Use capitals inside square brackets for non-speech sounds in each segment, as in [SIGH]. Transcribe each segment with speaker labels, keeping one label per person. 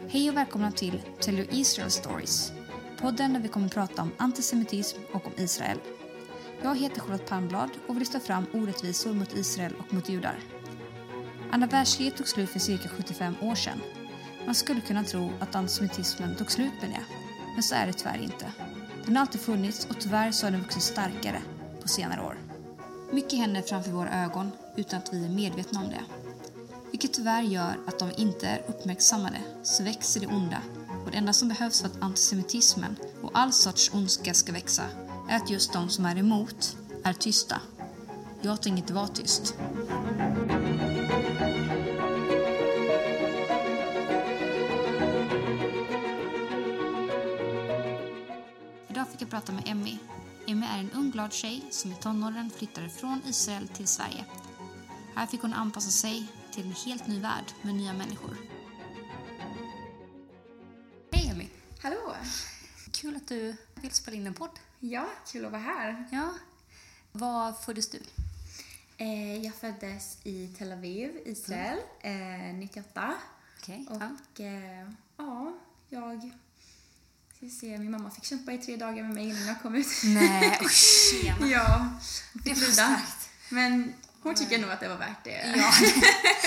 Speaker 1: Hej och välkomna till Tell Your Israel Stories. Podden där vi kommer att prata om antisemitism och om Israel. Jag heter Charlotte Palmblad och vill lyfta fram orättvisor mot Israel och mot judar. Andra världskriget tog slut för cirka 75 år sedan. Man skulle kunna tro att antisemitismen tog slut med det, men så är det tyvärr inte. Den har alltid funnits och tyvärr så har den vuxit starkare på senare år. Mycket händer framför våra ögon utan att vi är medvetna om det. Vilket tyvärr gör att om vi inte är uppmärksammade så växer det onda och det enda som behövs för att antisemitismen och all sorts ondska ska växa är att just de som är emot är tysta. Jag tänker inte vara tyst. Idag fick jag prata med Emmy. Emmy är en ung glad tjej som i tonåren flyttade från Israel till Sverige. Här fick hon anpassa sig till en helt ny värld med nya människor. Hej Emmy!
Speaker 2: Hallå!
Speaker 1: Kul att du vill spela in en podd.
Speaker 2: Ja, kul att vara här.
Speaker 1: Ja. Var föddes du?
Speaker 2: Eh, jag föddes i Tel Aviv, Israel, eh, 98.
Speaker 1: Okej.
Speaker 2: Och
Speaker 1: Ja.
Speaker 2: eh, ja, jag... Ska vi se, min mamma fick kämpa i tre dagar med mig innan jag kom ut.
Speaker 1: [LAUGHS] [LAUGHS] Nej, och tjena.
Speaker 2: ja, hon
Speaker 1: Det
Speaker 2: fick
Speaker 1: var
Speaker 2: lida.
Speaker 1: starkt.
Speaker 2: Men hon tycker nog att det var värt det.
Speaker 1: [LAUGHS] Ja,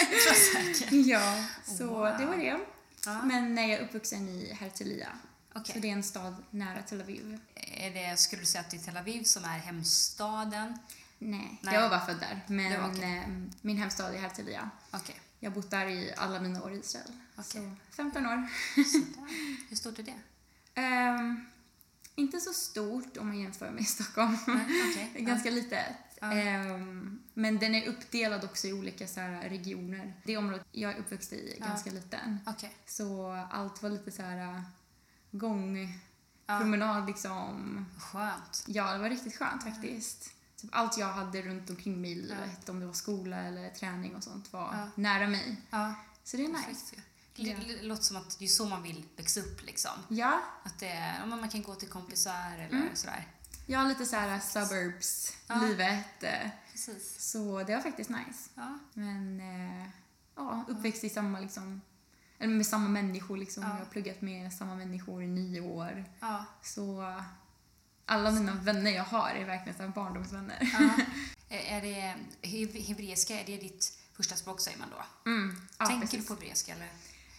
Speaker 1: det tror jag säkert.
Speaker 2: [LAUGHS] ja, så
Speaker 1: Wow.
Speaker 2: det var det.
Speaker 1: Ja.
Speaker 2: Men nej, jag är uppvuxen i Herzliya.
Speaker 1: Okej.
Speaker 2: Så det är en stad nära Tel Aviv.
Speaker 1: Är det, skulle du säga att det är Tel Aviv som är hemstaden?
Speaker 2: Nej,
Speaker 1: Nej.
Speaker 2: jag var bara född där.
Speaker 1: Det var
Speaker 2: Men
Speaker 1: okej.
Speaker 2: eh, min hemstad är Herzliya.
Speaker 1: Okej.
Speaker 2: Jag har bott där i alla mina år i Israel.
Speaker 1: Okej.
Speaker 2: Så 15
Speaker 1: [LAUGHS]
Speaker 2: år.
Speaker 1: sådär. Hur stort är det?
Speaker 2: Ehm, inte så stort om man jämför med Stockholm.
Speaker 1: Nej, Okej.
Speaker 2: Det är [LAUGHS] Ganska litet.
Speaker 1: Ja.
Speaker 2: Ehm, men den är uppdelad också i olika så här, regioner. Det området jag är uppväxt i är
Speaker 1: Ja.
Speaker 2: ganska liten.
Speaker 1: Ja. Okej.
Speaker 2: Så allt var lite så här äh, gång,
Speaker 1: Ja.
Speaker 2: promenad liksom.
Speaker 1: Skönt.
Speaker 2: Ja, det var riktigt skönt faktiskt. Typ allt jag hade runt omkring mig i livet, om det var skola eller träning och sånt, var
Speaker 1: Ja.
Speaker 2: nära mig.
Speaker 1: Ja.
Speaker 2: Så det är nice.
Speaker 1: Perfekt. ju. Det det låter som att det är så man vill växa upp. Liksom.
Speaker 2: Ja,
Speaker 1: Att det, är- ja, men man kan gå till kompisar eller
Speaker 2: Mm.
Speaker 1: sådär.
Speaker 2: jag har lite så här suburbs-livet. eh,
Speaker 1: Precis.
Speaker 2: Så det var faktiskt nice.
Speaker 1: Ja.
Speaker 2: Men eh, ja, uppväxt i samma liksom, eller med samma människor liksom.
Speaker 1: Ja.
Speaker 2: Jag har pluggat med samma människor i nio år.
Speaker 1: Ja.
Speaker 2: Så eh, alla mina vänner jag har är verkligen så här barndomsvänner. [LAUGHS]
Speaker 1: ja. är är det he- hebreiska, är det ditt första språk säger man då?
Speaker 2: Mm, ja,
Speaker 1: Tänker
Speaker 2: precis.
Speaker 1: du på hebreiska eller?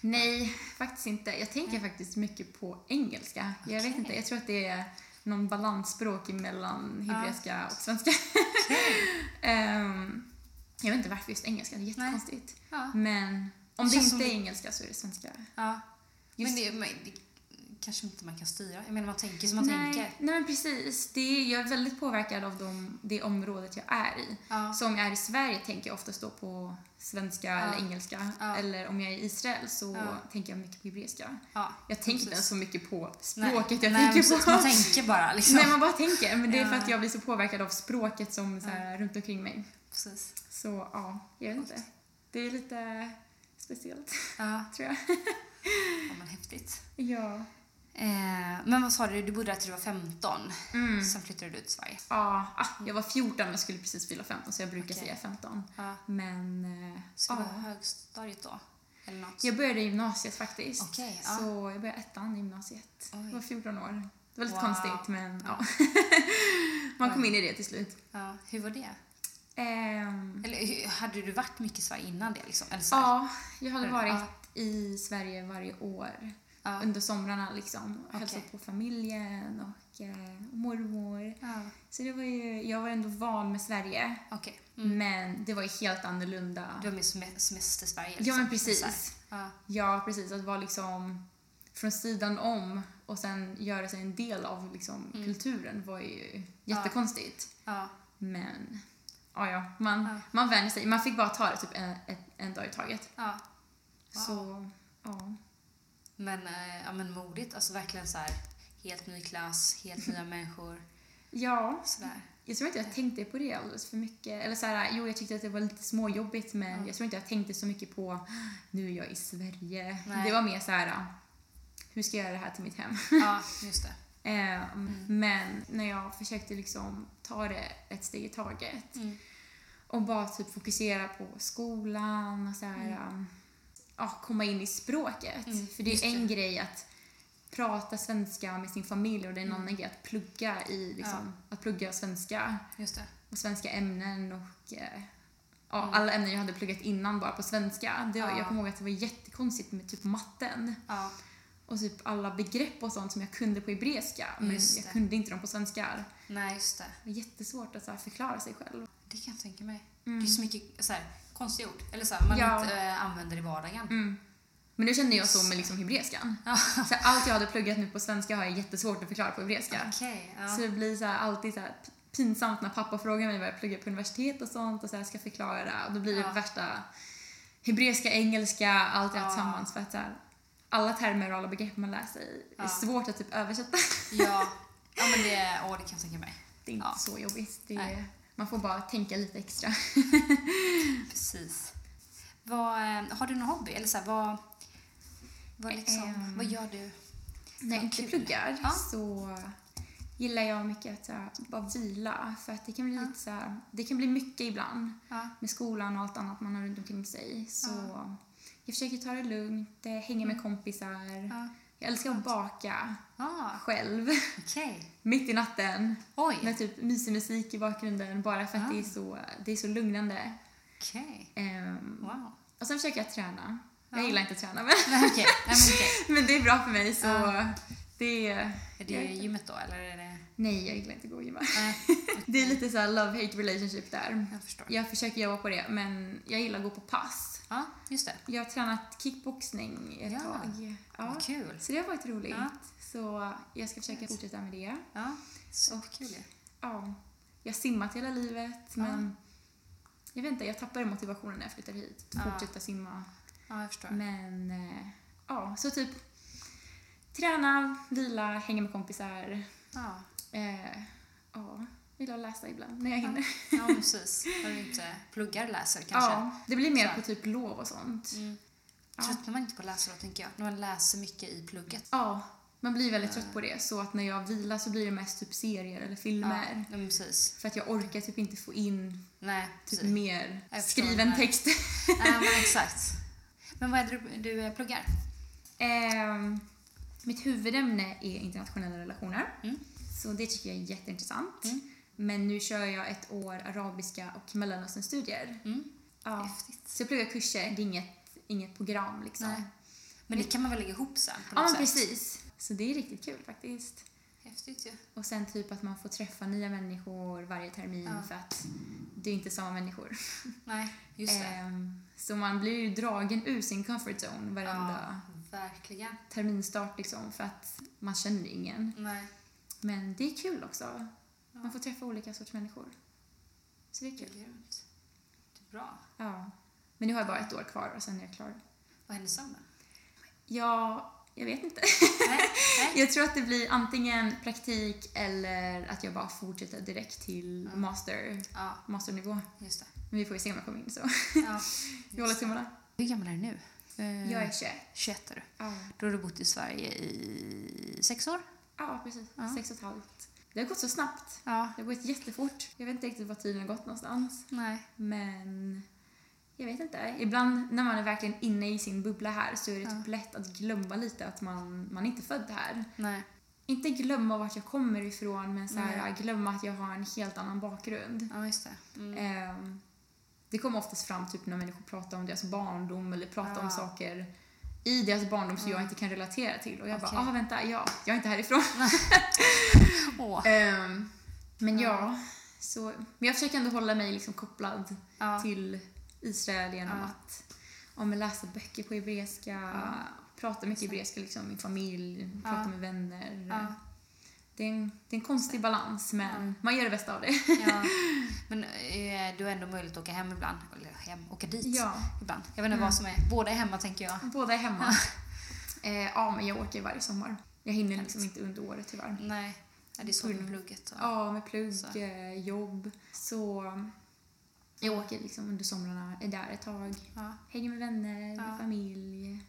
Speaker 2: Nej, faktiskt inte. Jag tänker faktiskt mycket på engelska. Jag vet
Speaker 1: Okej.
Speaker 2: inte, jag tror att det är någon balansspråk mellan
Speaker 1: Ja.
Speaker 2: hebreiska och svenska. Ehm, jag vet inte varför just engelska, det är jättekonstigt.
Speaker 1: Ja.
Speaker 2: Men
Speaker 1: Det
Speaker 2: om det,
Speaker 1: känns
Speaker 2: inte
Speaker 1: som-
Speaker 2: är engelska så är det svenska.
Speaker 1: ja. Men,
Speaker 2: Just-
Speaker 1: det, men det kanske inte man kan styra. Jag menar man tänker som man
Speaker 2: nej,
Speaker 1: tänker.
Speaker 2: nej, men precis. Det är, jag är väldigt påverkad av de, det området jag är i.
Speaker 1: Ja.
Speaker 2: Så om jag är i Sverige tänker jag oftast då på svenska eller engelska.
Speaker 1: Ja.
Speaker 2: Eller om jag är i Israel så
Speaker 1: Ja.
Speaker 2: tänker jag mycket på hebreiska.
Speaker 1: Ja.
Speaker 2: Jag tänker inte
Speaker 1: Precis.
Speaker 2: ens så mycket på
Speaker 1: Nej.
Speaker 2: språket jag
Speaker 1: Nej, men
Speaker 2: tänker
Speaker 1: precis,
Speaker 2: på.
Speaker 1: Man tänker bara liksom.
Speaker 2: [LAUGHS] Nej, man bara tänker. Men det är för
Speaker 1: Ja.
Speaker 2: att jag blir så påverkad av språket som så här, runt omkring mig.
Speaker 1: Precis.
Speaker 2: Så ja, jag vet inte. Det är lite speciellt, [LAUGHS]
Speaker 1: Ja.
Speaker 2: tror jag.
Speaker 1: ja, men häftigt.
Speaker 2: Ja.
Speaker 1: Eh, men vad sa du, du bodde där till du var 15.
Speaker 2: Mm.
Speaker 1: Sen flyttade du ut till Sverige.
Speaker 2: Ja, ah, jag var 14 men skulle precis fylla 15 så jag brukar
Speaker 1: Okej.
Speaker 2: säga 15.
Speaker 1: Ja.
Speaker 2: Men eh,
Speaker 1: Så du
Speaker 2: ja,
Speaker 1: var högstadiet då? Eller något?
Speaker 2: jag började i gymnasiet faktiskt.
Speaker 1: Okej, ja.
Speaker 2: Så jag började ettan i gymnasiet.
Speaker 1: Oj.
Speaker 2: Jag var 14 år. Det var lite
Speaker 1: Wow.
Speaker 2: konstigt men
Speaker 1: [LAUGHS]
Speaker 2: ja. Man kom in i det till slut.
Speaker 1: Ja, hur var det?
Speaker 2: Ehm,
Speaker 1: Eller hur, hade du varit mycket i Sverige innan det? Liksom? Eller så här?
Speaker 2: ja, jag hade
Speaker 1: Ja.
Speaker 2: varit i Sverige varje år
Speaker 1: Ja.
Speaker 2: under somrarna liksom. Och
Speaker 1: Okej.
Speaker 2: Hälsat på familjen och eh, mormor.
Speaker 1: ja.
Speaker 2: Så det var ju, jag var ändå van med Sverige.
Speaker 1: Okej. Mm.
Speaker 2: Men det var ju helt annorlunda.
Speaker 1: Du var liksom med som semester-Sverige?
Speaker 2: Ja men
Speaker 1: Så här.
Speaker 2: precis.
Speaker 1: Ja.
Speaker 2: Ja, precis. Att vara liksom från sidan om och sen göra sig en del av liksom
Speaker 1: Mm.
Speaker 2: kulturen var ju jättekonstigt.
Speaker 1: Ja.
Speaker 2: Men ja, ja, man,
Speaker 1: Ja.
Speaker 2: man vänjer sig. Man fick bara ta det typ en, en, en dag i taget.
Speaker 1: ja. Wow.
Speaker 2: Så, ja.
Speaker 1: Men, eh, ja, men modigt. Alltså verkligen så här, helt ny klass, helt
Speaker 2: [LAUGHS]
Speaker 1: nya människor.
Speaker 2: Ja, [LAUGHS]
Speaker 1: Sådär.
Speaker 2: jag tror inte jag tänkte på det alldeles för mycket. Eller så här, jo, jag tyckte att det var lite småjobbigt men jag tror inte jag tänkte så mycket på "Ah, nu är jag i Sverige.
Speaker 1: Nej.
Speaker 2: Det var mer så här, "Ah, hur ska jag göra det här till mitt hem?
Speaker 1: Ja, just det.
Speaker 2: Eh,
Speaker 3: Mm.
Speaker 2: Men när jag försökte liksom ta det ett steg i taget
Speaker 1: Mm.
Speaker 2: och bara typ fokusera på skolan och så här, eh, ja, komma in i språket.
Speaker 3: Mm,
Speaker 2: För det
Speaker 3: just
Speaker 2: är
Speaker 3: det.
Speaker 2: en grej att prata svenska med sin familj och det är en
Speaker 3: Mm.
Speaker 2: annan grej att plugga i liksom, att plugga svenska
Speaker 3: Just det.
Speaker 2: och svenska ämnen och eh, ja, alla ämnen jag hade pluggat innan bara på svenska. Det var,
Speaker 3: Mm. Ja.
Speaker 2: Jag kommer ihåg att det var jättekonstigt med typ matten
Speaker 3: Ja,
Speaker 2: och typ alla begrepp och sånt som jag kunde på hebreiska men
Speaker 3: Just det.
Speaker 2: jag kunde inte dem på svenska.
Speaker 3: nej just det.
Speaker 2: Det var jättesvårt att så här, förklara sig själv.
Speaker 3: Det kan jag tänka mig. Det är så mycket så här, konstiga ord. Eller så här, man
Speaker 2: Mm. Ja. Mm.
Speaker 3: inte eh, använder i vardagen.
Speaker 2: Men nu känner jag så med liksom hebreiskan.
Speaker 3: Ja.
Speaker 2: Så allt jag hade pluggat nu på svenska har jag jättesvårt att förklara på hebreiska.
Speaker 3: Okej,
Speaker 2: Så det blir så här, alltid så här pinsamt när pappa frågar mig vad jag pluggar på universitet och sånt och så här ska förklara och då blir det
Speaker 3: Ja.
Speaker 2: värsta hebreiska, engelska, allt det här
Speaker 3: Ja.
Speaker 2: tillsammans för att så här, alla termer och alla begrepp man lär sig
Speaker 3: Ja.
Speaker 2: är svårt att typ översätta. [LAUGHS]
Speaker 3: ja. ja. Ja, men det, åh, det kan jag tänka mig.
Speaker 2: Det är inte
Speaker 3: Ja.
Speaker 2: så jobbigt. Det
Speaker 3: Nej.
Speaker 2: är, man får bara tänka lite
Speaker 3: [LAUGHS]
Speaker 2: extra.
Speaker 3: Precis. Vad, eh, har du någon hobby? Eller så här, vad, vad, liksom,
Speaker 2: Ehm.
Speaker 3: vad gör du?
Speaker 2: När jag inte
Speaker 3: kul.
Speaker 2: pluggar
Speaker 3: Ja.
Speaker 2: så gillar jag mycket att så här, bara vila för att det kan bli lite så här, det kan bli mycket ibland.
Speaker 3: Ja.
Speaker 2: med skolan och allt annat man har runt omkring sig. Så jag försöker ta det lugnt, eh, hänga med kompisar.
Speaker 3: Mm. Ja.
Speaker 2: Jag älskar att baka
Speaker 3: Ah,
Speaker 2: själv, [LAUGHS]
Speaker 3: Okej.
Speaker 2: mitt i natten.
Speaker 3: Oj.
Speaker 2: Med typ mysig musik i bakgrunden bara för att det, är så, det är så lugnande.
Speaker 3: Okej.
Speaker 2: Ehm,
Speaker 3: Wow. [LAUGHS]
Speaker 2: och sen försöker jag träna.
Speaker 3: Ja.
Speaker 2: Jag gillar inte att träna [LAUGHS] men,
Speaker 3: Nej, Okej. Nej, men okej.
Speaker 2: men det är bra för mig så det är...
Speaker 3: Är det gymmet då eller? Är det...
Speaker 2: Nej, jag gillar inte att gå och gymma.
Speaker 3: Nej,
Speaker 2: [LAUGHS] Det är lite så här love-hate relationship där.
Speaker 3: jag förstår.
Speaker 2: Jag försöker jobba på det men jag gillar att gå på pass.
Speaker 3: Ja, just det.
Speaker 2: Jag har tränat kickboxning ett
Speaker 3: Ja.
Speaker 2: tag. Ja.
Speaker 3: Vad kul.
Speaker 2: Så det har varit roligt.
Speaker 3: Ja.
Speaker 2: Så jag ska försöka fortsätta med det.
Speaker 3: Ja, superkul ju.
Speaker 2: Ja. Jag har simmat hela livet men jag vet inte, jag tappade motivationen när jag flyttade hit. Att
Speaker 3: Ja.
Speaker 2: fortsätta simma.
Speaker 3: Ja, jag förstår.
Speaker 2: Men eh, ja, så typ träna, vila, hänga med kompisar.
Speaker 3: Ja,
Speaker 2: Eh, ja, vill jag läsa ibland när jag hinner.
Speaker 3: ja precis. När du inte pluggar läser kanske.
Speaker 2: Ja, det blir mer
Speaker 3: Så.
Speaker 2: på typ lov och sånt.
Speaker 3: Mm.
Speaker 2: Ja.
Speaker 3: Tröttnar man inte på att läsa då, tänker jag? När man läser mycket i plugget.
Speaker 2: Ja, man blir väldigt trött på det. Så att när jag vilar så blir det mest typ serier eller filmer.
Speaker 3: Ja, men precis.
Speaker 2: För att jag orkar typ inte få in
Speaker 3: Nej,
Speaker 2: typ
Speaker 3: precis.
Speaker 2: mer
Speaker 3: Jag förstår
Speaker 2: skriven
Speaker 3: det.
Speaker 2: text. [LAUGHS]
Speaker 3: Nej, men exakt. Men vad är det du, du eh, pluggar?
Speaker 2: Ehm, mitt huvudämne är internationella relationer.
Speaker 3: Mm.
Speaker 2: Så det tycker jag är jätteintressant.
Speaker 3: Mm.
Speaker 2: Men nu kör jag ett år arabiska och mellanösternstudier.
Speaker 3: Mm.
Speaker 2: Ja.
Speaker 3: Häftigt.
Speaker 2: Så jag pluggar kurser, det är inget, inget program liksom.
Speaker 3: Nej. Men det kan man väl lägga ihop sen? På
Speaker 2: ja,
Speaker 3: något
Speaker 2: men
Speaker 3: sätt?
Speaker 2: precis. Så det är riktigt kul faktiskt.
Speaker 3: Häftigt ju.
Speaker 2: Och sen typ att man får träffa nya människor varje termin
Speaker 3: Ja.
Speaker 2: för att det är inte samma människor.
Speaker 3: Nej, just det.
Speaker 2: Ehm, så man blir ju dragen ur sin comfort zone varenda
Speaker 3: Ja, verkligen.
Speaker 2: terminstart liksom för att man känner ingen.
Speaker 3: Nej.
Speaker 2: Men det är kul också.
Speaker 3: Ja.
Speaker 2: Man får träffa olika sorters människor. Så det är kul.
Speaker 3: Grymt. Det är bra.
Speaker 2: Ja. Men nu har jag bara ett år kvar och sen är jag klar.
Speaker 3: Vad händer sen då?
Speaker 2: Ja, jag vet inte.
Speaker 3: Nej, nej.
Speaker 2: [LAUGHS] Jag tror att det blir antingen praktik eller att jag bara fortsätter direkt till
Speaker 3: Mm.
Speaker 2: master,
Speaker 3: Ja,
Speaker 2: masternivå.
Speaker 3: just [LAUGHS] det.
Speaker 2: Men vi får ju se om jag kommer in så.
Speaker 3: Ja.
Speaker 2: Jag håller tummarna.
Speaker 3: Hur gammal är du nu? Eh,
Speaker 2: Jag är 21.
Speaker 3: 21 är du.
Speaker 2: Ja,
Speaker 3: Då har du bott i Sverige i sex år?
Speaker 2: ja precis.
Speaker 3: Ja.
Speaker 2: Sex och ett halvt. Det har gått så snabbt.
Speaker 3: Ja.
Speaker 2: Det har gått jättefort. Jag vet inte riktigt var tiden har gått någonstans.
Speaker 3: Nej.
Speaker 2: Men jag vet inte. Ibland när man är verkligen inne i sin bubbla här så är det typ lätt att glömma lite att man, man är inte född här.
Speaker 3: Nej.
Speaker 2: Inte glömma vart jag kommer ifrån men så här,
Speaker 3: Nej.
Speaker 2: glömma att jag har en helt annan bakgrund.
Speaker 3: Ja, just det. Mm.
Speaker 2: Ehm, det kommer oftast fram typ när människor pratar om deras barndom eller pratar
Speaker 3: Ja.
Speaker 2: om saker i deras barndom som jag inte kan relatera till. Och jag
Speaker 3: Okej.
Speaker 2: bara, ah vänta, ja, jag är inte härifrån.
Speaker 3: [LAUGHS]
Speaker 2: [LAUGHS]
Speaker 3: Åh.
Speaker 2: Ehm, men ja, så, men jag försöker ändå hålla mig liksom kopplad
Speaker 3: Ja.
Speaker 2: till Israel genom
Speaker 3: Ja.
Speaker 2: att ja, men läsa böcker på hebreiska, prata mycket hebreiska liksom, med min familj,
Speaker 3: Ja.
Speaker 2: prata med vänner.
Speaker 3: Ja.
Speaker 2: Det, är en, det är en konstig balans men man gör det bästa av det.
Speaker 3: [LAUGHS] Ja. Men eh, du har ändå möjlighet att åka hem ibland. Eller hem, åka dit
Speaker 2: Ja, [LAUGHS]
Speaker 3: ibland. Jag vet inte vad som är. Båda är hemma tänker jag.
Speaker 2: båda är hemma. [LAUGHS] eh, ja, men jag åker varje sommar. Jag hinner liksom inte under året tyvärr.
Speaker 3: Nej. Ja, det är så med plugget. Och...
Speaker 2: Ja, med plugg,
Speaker 3: Så.
Speaker 2: eh, jobb. Så jag åker liksom under somrarna, är där ett tag.
Speaker 3: Ja.
Speaker 2: Hänger med vänner,
Speaker 3: Ja.
Speaker 2: familj.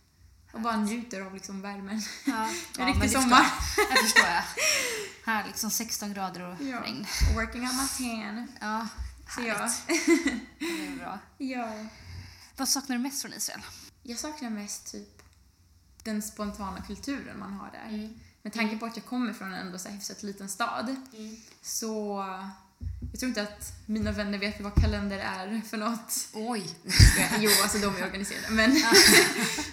Speaker 2: Och bara njuter av liksom värmen.
Speaker 3: Ja.
Speaker 2: En
Speaker 3: men det
Speaker 2: [LAUGHS] riktig
Speaker 3: förstår jag. [LAUGHS]
Speaker 2: sommar.
Speaker 3: Det förstår jag. Här liksom 16 grader och
Speaker 2: Ja.
Speaker 3: regn.
Speaker 2: Working on my tan.
Speaker 3: Ja,
Speaker 2: Så ja.
Speaker 3: härligt. Det är bra.
Speaker 2: ja.
Speaker 3: Vad saknar du mest från Israel?
Speaker 2: Jag saknar mest typ den spontana kulturen man har där.
Speaker 3: Mm.
Speaker 2: Med tanke på att jag kommer från en ändå så här hyfsat liten stad
Speaker 3: Mm.
Speaker 2: så jag tror inte att mina vänner vet vad kalender är för något.
Speaker 3: Oj!
Speaker 2: Jo, alltså de är organiserade. Men, [LAUGHS]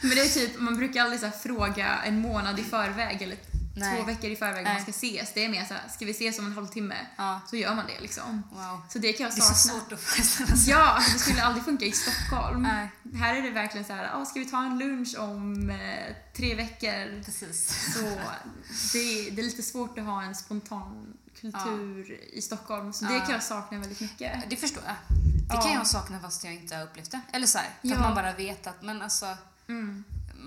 Speaker 2: men det är typ, man brukar aldrig så här fråga en månad i förväg eller
Speaker 3: Nej.
Speaker 2: två veckor i förväg om
Speaker 3: Nej.
Speaker 2: man ska ses. Det är mer så här, ska vi ses om en halvtimme?
Speaker 3: Ja.
Speaker 2: Så gör man det liksom.
Speaker 3: Wow.
Speaker 2: Så det kan jag
Speaker 3: Det är så
Speaker 2: sakna.
Speaker 3: svårt att föreställa sig.
Speaker 2: Ja, det skulle aldrig funka i Stockholm.
Speaker 3: Nej.
Speaker 2: Här är det verkligen så här, ah, ska vi ta en lunch om eh, tre veckor?
Speaker 3: Precis. [LAUGHS]
Speaker 2: Så det, är- det är lite svårt att ha en spontan kultur i Stockholm, så det
Speaker 3: Ja.
Speaker 2: kan jag sakna väldigt mycket.
Speaker 3: Det förstår jag. Det
Speaker 2: Ja.
Speaker 3: kan jag sakna fast jag inte har upplevt det. Eller så här, för
Speaker 2: Ja.
Speaker 3: att man bara vet att men alltså,
Speaker 2: Mm.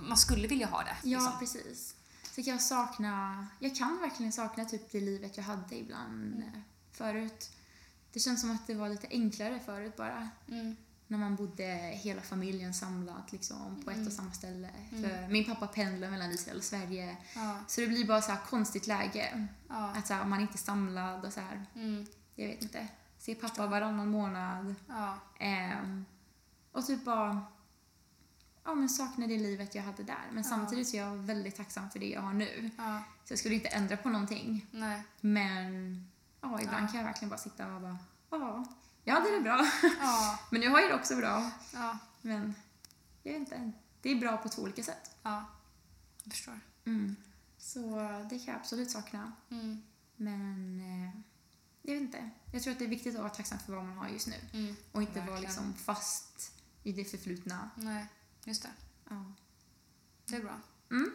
Speaker 3: man skulle vilja ha det.
Speaker 2: Ja,
Speaker 3: liksom.
Speaker 2: precis. Så kan jag sakna, jag kan verkligen sakna typ det livet jag hade ibland
Speaker 3: Mm.
Speaker 2: eh, förut. Det känns som att det var lite enklare förut bara.
Speaker 3: Mm.
Speaker 2: När man bodde hela familjen samlat liksom, på ett
Speaker 3: Mm.
Speaker 2: och samma ställe. För min pappa pendlar mellan Israel och Sverige.
Speaker 3: Ja.
Speaker 2: Så det blir bara så här konstigt läge.
Speaker 3: Ja.
Speaker 2: Att så här, man är inte är samlad och så här.
Speaker 3: Mm.
Speaker 2: Jag vet inte. Se pappa varannan månad.
Speaker 3: Ja.
Speaker 2: Ehm, och typ bara ja, men sakna det livet jag hade där. Men samtidigt så är jag väldigt tacksam för det jag har nu.
Speaker 3: ja.
Speaker 2: Så jag skulle inte ändra på någonting.
Speaker 3: Nej.
Speaker 2: Men ja, ibland
Speaker 3: Ja.
Speaker 2: kan jag verkligen bara sitta och bara ja, jag hade det bra. [LAUGHS]
Speaker 3: Ja.
Speaker 2: men nu har jag det också bra.
Speaker 3: Ja.
Speaker 2: Men jag vet inte. Det är bra på två olika sätt.
Speaker 3: Ja. Jag förstår.
Speaker 2: Mm. Så det kan jag absolut sakna.
Speaker 3: Mm.
Speaker 2: Men eh, jag vet inte. Jag tror att det är viktigt att vara tacksam för vad man har just nu.
Speaker 3: Mm.
Speaker 2: Och inte vara
Speaker 3: Verkligen.
Speaker 2: liksom fast i det förflutna.
Speaker 3: Nej, just det.
Speaker 2: Ja.
Speaker 3: Det är bra.
Speaker 2: Mm.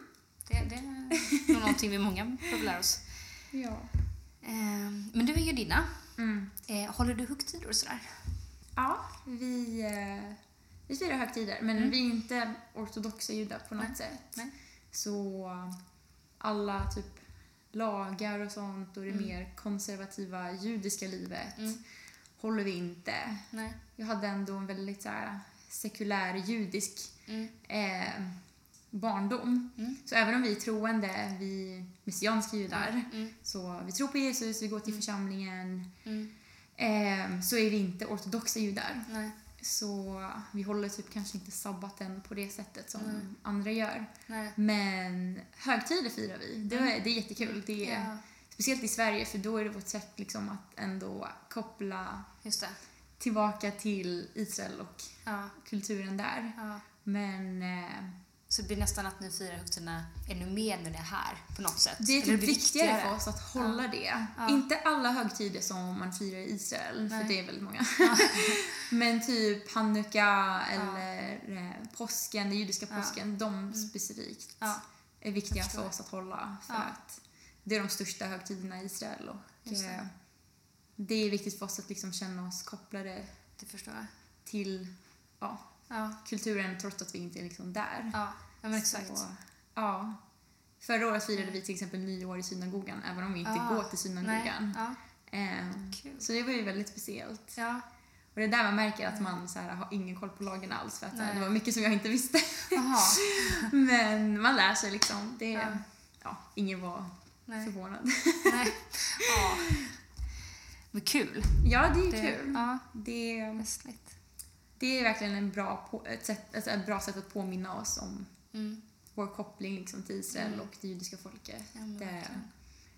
Speaker 3: Det, det är nog någonting vi många behöver lära oss.
Speaker 2: Ja.
Speaker 3: Ehm, Men du är ju dina.
Speaker 2: Mm.
Speaker 3: Eh, Håller du högtider och sådär?
Speaker 2: Ja, vi, eh, vi firar högtider men vi är inte ortodoxa judar på något
Speaker 3: Mm. Nej,
Speaker 2: sätt.
Speaker 3: nej.
Speaker 2: Så alla typ lagar och sånt och det mer konservativa judiska livet
Speaker 3: Mm.
Speaker 2: håller vi inte.
Speaker 3: Nej.
Speaker 2: Jag hade ändå en väldigt så här, sekulär judisk
Speaker 3: Mm.
Speaker 2: eh, barndom.
Speaker 3: Mm.
Speaker 2: Så även om vi är troende, vi messianska judar,
Speaker 3: Mm.
Speaker 2: så vi tror på Jesus, vi går till församlingen,
Speaker 3: Mm.
Speaker 2: eh, så är vi inte ortodoxa judar.
Speaker 3: Nej.
Speaker 2: Så vi håller typ kanske inte sabbaten på det sättet som
Speaker 3: Nej.
Speaker 2: andra gör.
Speaker 3: Nej.
Speaker 2: Men högtider firar vi. Det är, det är jättekul. Det är,
Speaker 3: Mm. Ja,
Speaker 2: Speciellt i Sverige för då är det vårt sätt liksom att ändå koppla
Speaker 3: just det.
Speaker 2: tillbaka till Israel och
Speaker 3: Ja.
Speaker 2: kulturen där.
Speaker 3: Ja.
Speaker 2: Men eh,
Speaker 3: Så det blir nästan att ni firar högtiderna ännu mer när ni är här på något sätt.
Speaker 2: det är
Speaker 3: Eller
Speaker 2: typ viktigare, för oss att hålla det.
Speaker 3: Ja.
Speaker 2: Inte alla högtider som man firar i Israel,
Speaker 3: Nej.
Speaker 2: för det är väldigt många. [LAUGHS] Men typ hanukka eller eh, påsken, den judiska
Speaker 3: Ja. Mm.
Speaker 2: påsken, de specifikt.
Speaker 3: Ja.
Speaker 2: är viktiga
Speaker 3: Jag förstår.
Speaker 2: för oss att hålla. För
Speaker 3: Ja.
Speaker 2: att det är de största högtiderna i Israel. Och
Speaker 3: Just det.
Speaker 2: eh, det är viktigt för oss att liksom känna oss kopplade
Speaker 3: Det förstår jag.
Speaker 2: till ja,
Speaker 3: Ja.
Speaker 2: kulturen trots att vi inte är liksom där.
Speaker 3: Ja, ja men exakt.
Speaker 2: Så, ja. Förra året firade vi till exempel nyår i synagogan även om vi inte
Speaker 3: Ah,
Speaker 2: går till synagogan.
Speaker 3: Ja.
Speaker 2: Eh,
Speaker 3: Kul.
Speaker 2: så det var ju väldigt speciellt.
Speaker 3: Ja.
Speaker 2: Och det är där man märker att man så här, har ingen koll på lagen alls för att så här,
Speaker 3: Nej.
Speaker 2: det var mycket som jag inte visste.
Speaker 3: Jaha.
Speaker 2: [LAUGHS] Men man lär sig liksom. Det,
Speaker 3: Ja.
Speaker 2: ja. ingen var
Speaker 3: Nej.
Speaker 2: förvånad.
Speaker 3: Nej.
Speaker 2: [LAUGHS]
Speaker 3: Ja. Men kul.
Speaker 2: Ja, det är ju
Speaker 3: Det-
Speaker 2: kul.
Speaker 3: Ja,
Speaker 2: Det,
Speaker 3: festligt.
Speaker 2: det är verkligen en bra på, ett, sätt, alltså ett bra sätt att påminna oss om
Speaker 3: Mm.
Speaker 2: vår koppling liksom till Israel
Speaker 3: Mm.
Speaker 2: och det judiska folket.
Speaker 3: Ja, men
Speaker 2: Det-
Speaker 3: Mm, verkligen.
Speaker 2: Eh,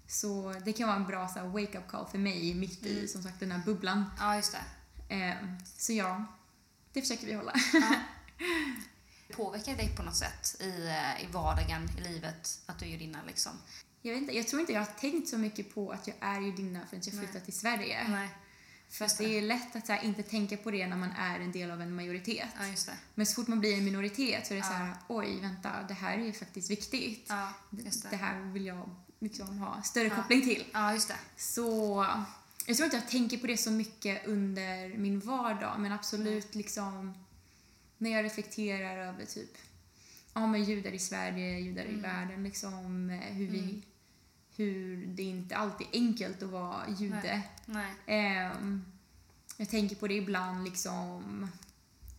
Speaker 2: Så det kan vara en bra så här, wake-up call för mig mitt i
Speaker 3: Mm.
Speaker 2: som sagt den här bubblan.
Speaker 3: ja, just det.
Speaker 2: Eh, så ja, det försöker vi hålla. [LAUGHS]
Speaker 3: Ja. Påverkar det dig på något sätt i, eh, i vardagen, i livet, att du är judinna liksom?
Speaker 2: Jag, vet inte, jag tror inte jag har tänkt så mycket på att jag är judinna förrän jag
Speaker 3: Nej.
Speaker 2: flyttade till Sverige.
Speaker 3: Nej.
Speaker 2: För
Speaker 3: just
Speaker 2: att det är lätt att så här, inte tänka på det när man är en del av en majoritet.
Speaker 3: Ja, just det.
Speaker 2: Men så fort man blir en minoritet så är det
Speaker 3: Ja.
Speaker 2: så här, oj vänta, det här är ju faktiskt viktigt.
Speaker 3: Ja, just
Speaker 2: det.
Speaker 3: det.
Speaker 2: här vill jag liksom ha större
Speaker 3: Ja.
Speaker 2: koppling till.
Speaker 3: Ja, just det.
Speaker 2: Så jag tror inte jag tänker på det så mycket under min vardag men absolut liksom när jag reflekterar över typ ja men judar i Sverige, judar i världen liksom eh, hur vi hur det inte alltid är enkelt att vara jude.
Speaker 3: Nej.
Speaker 2: Ehm, jag tänker på det ibland liksom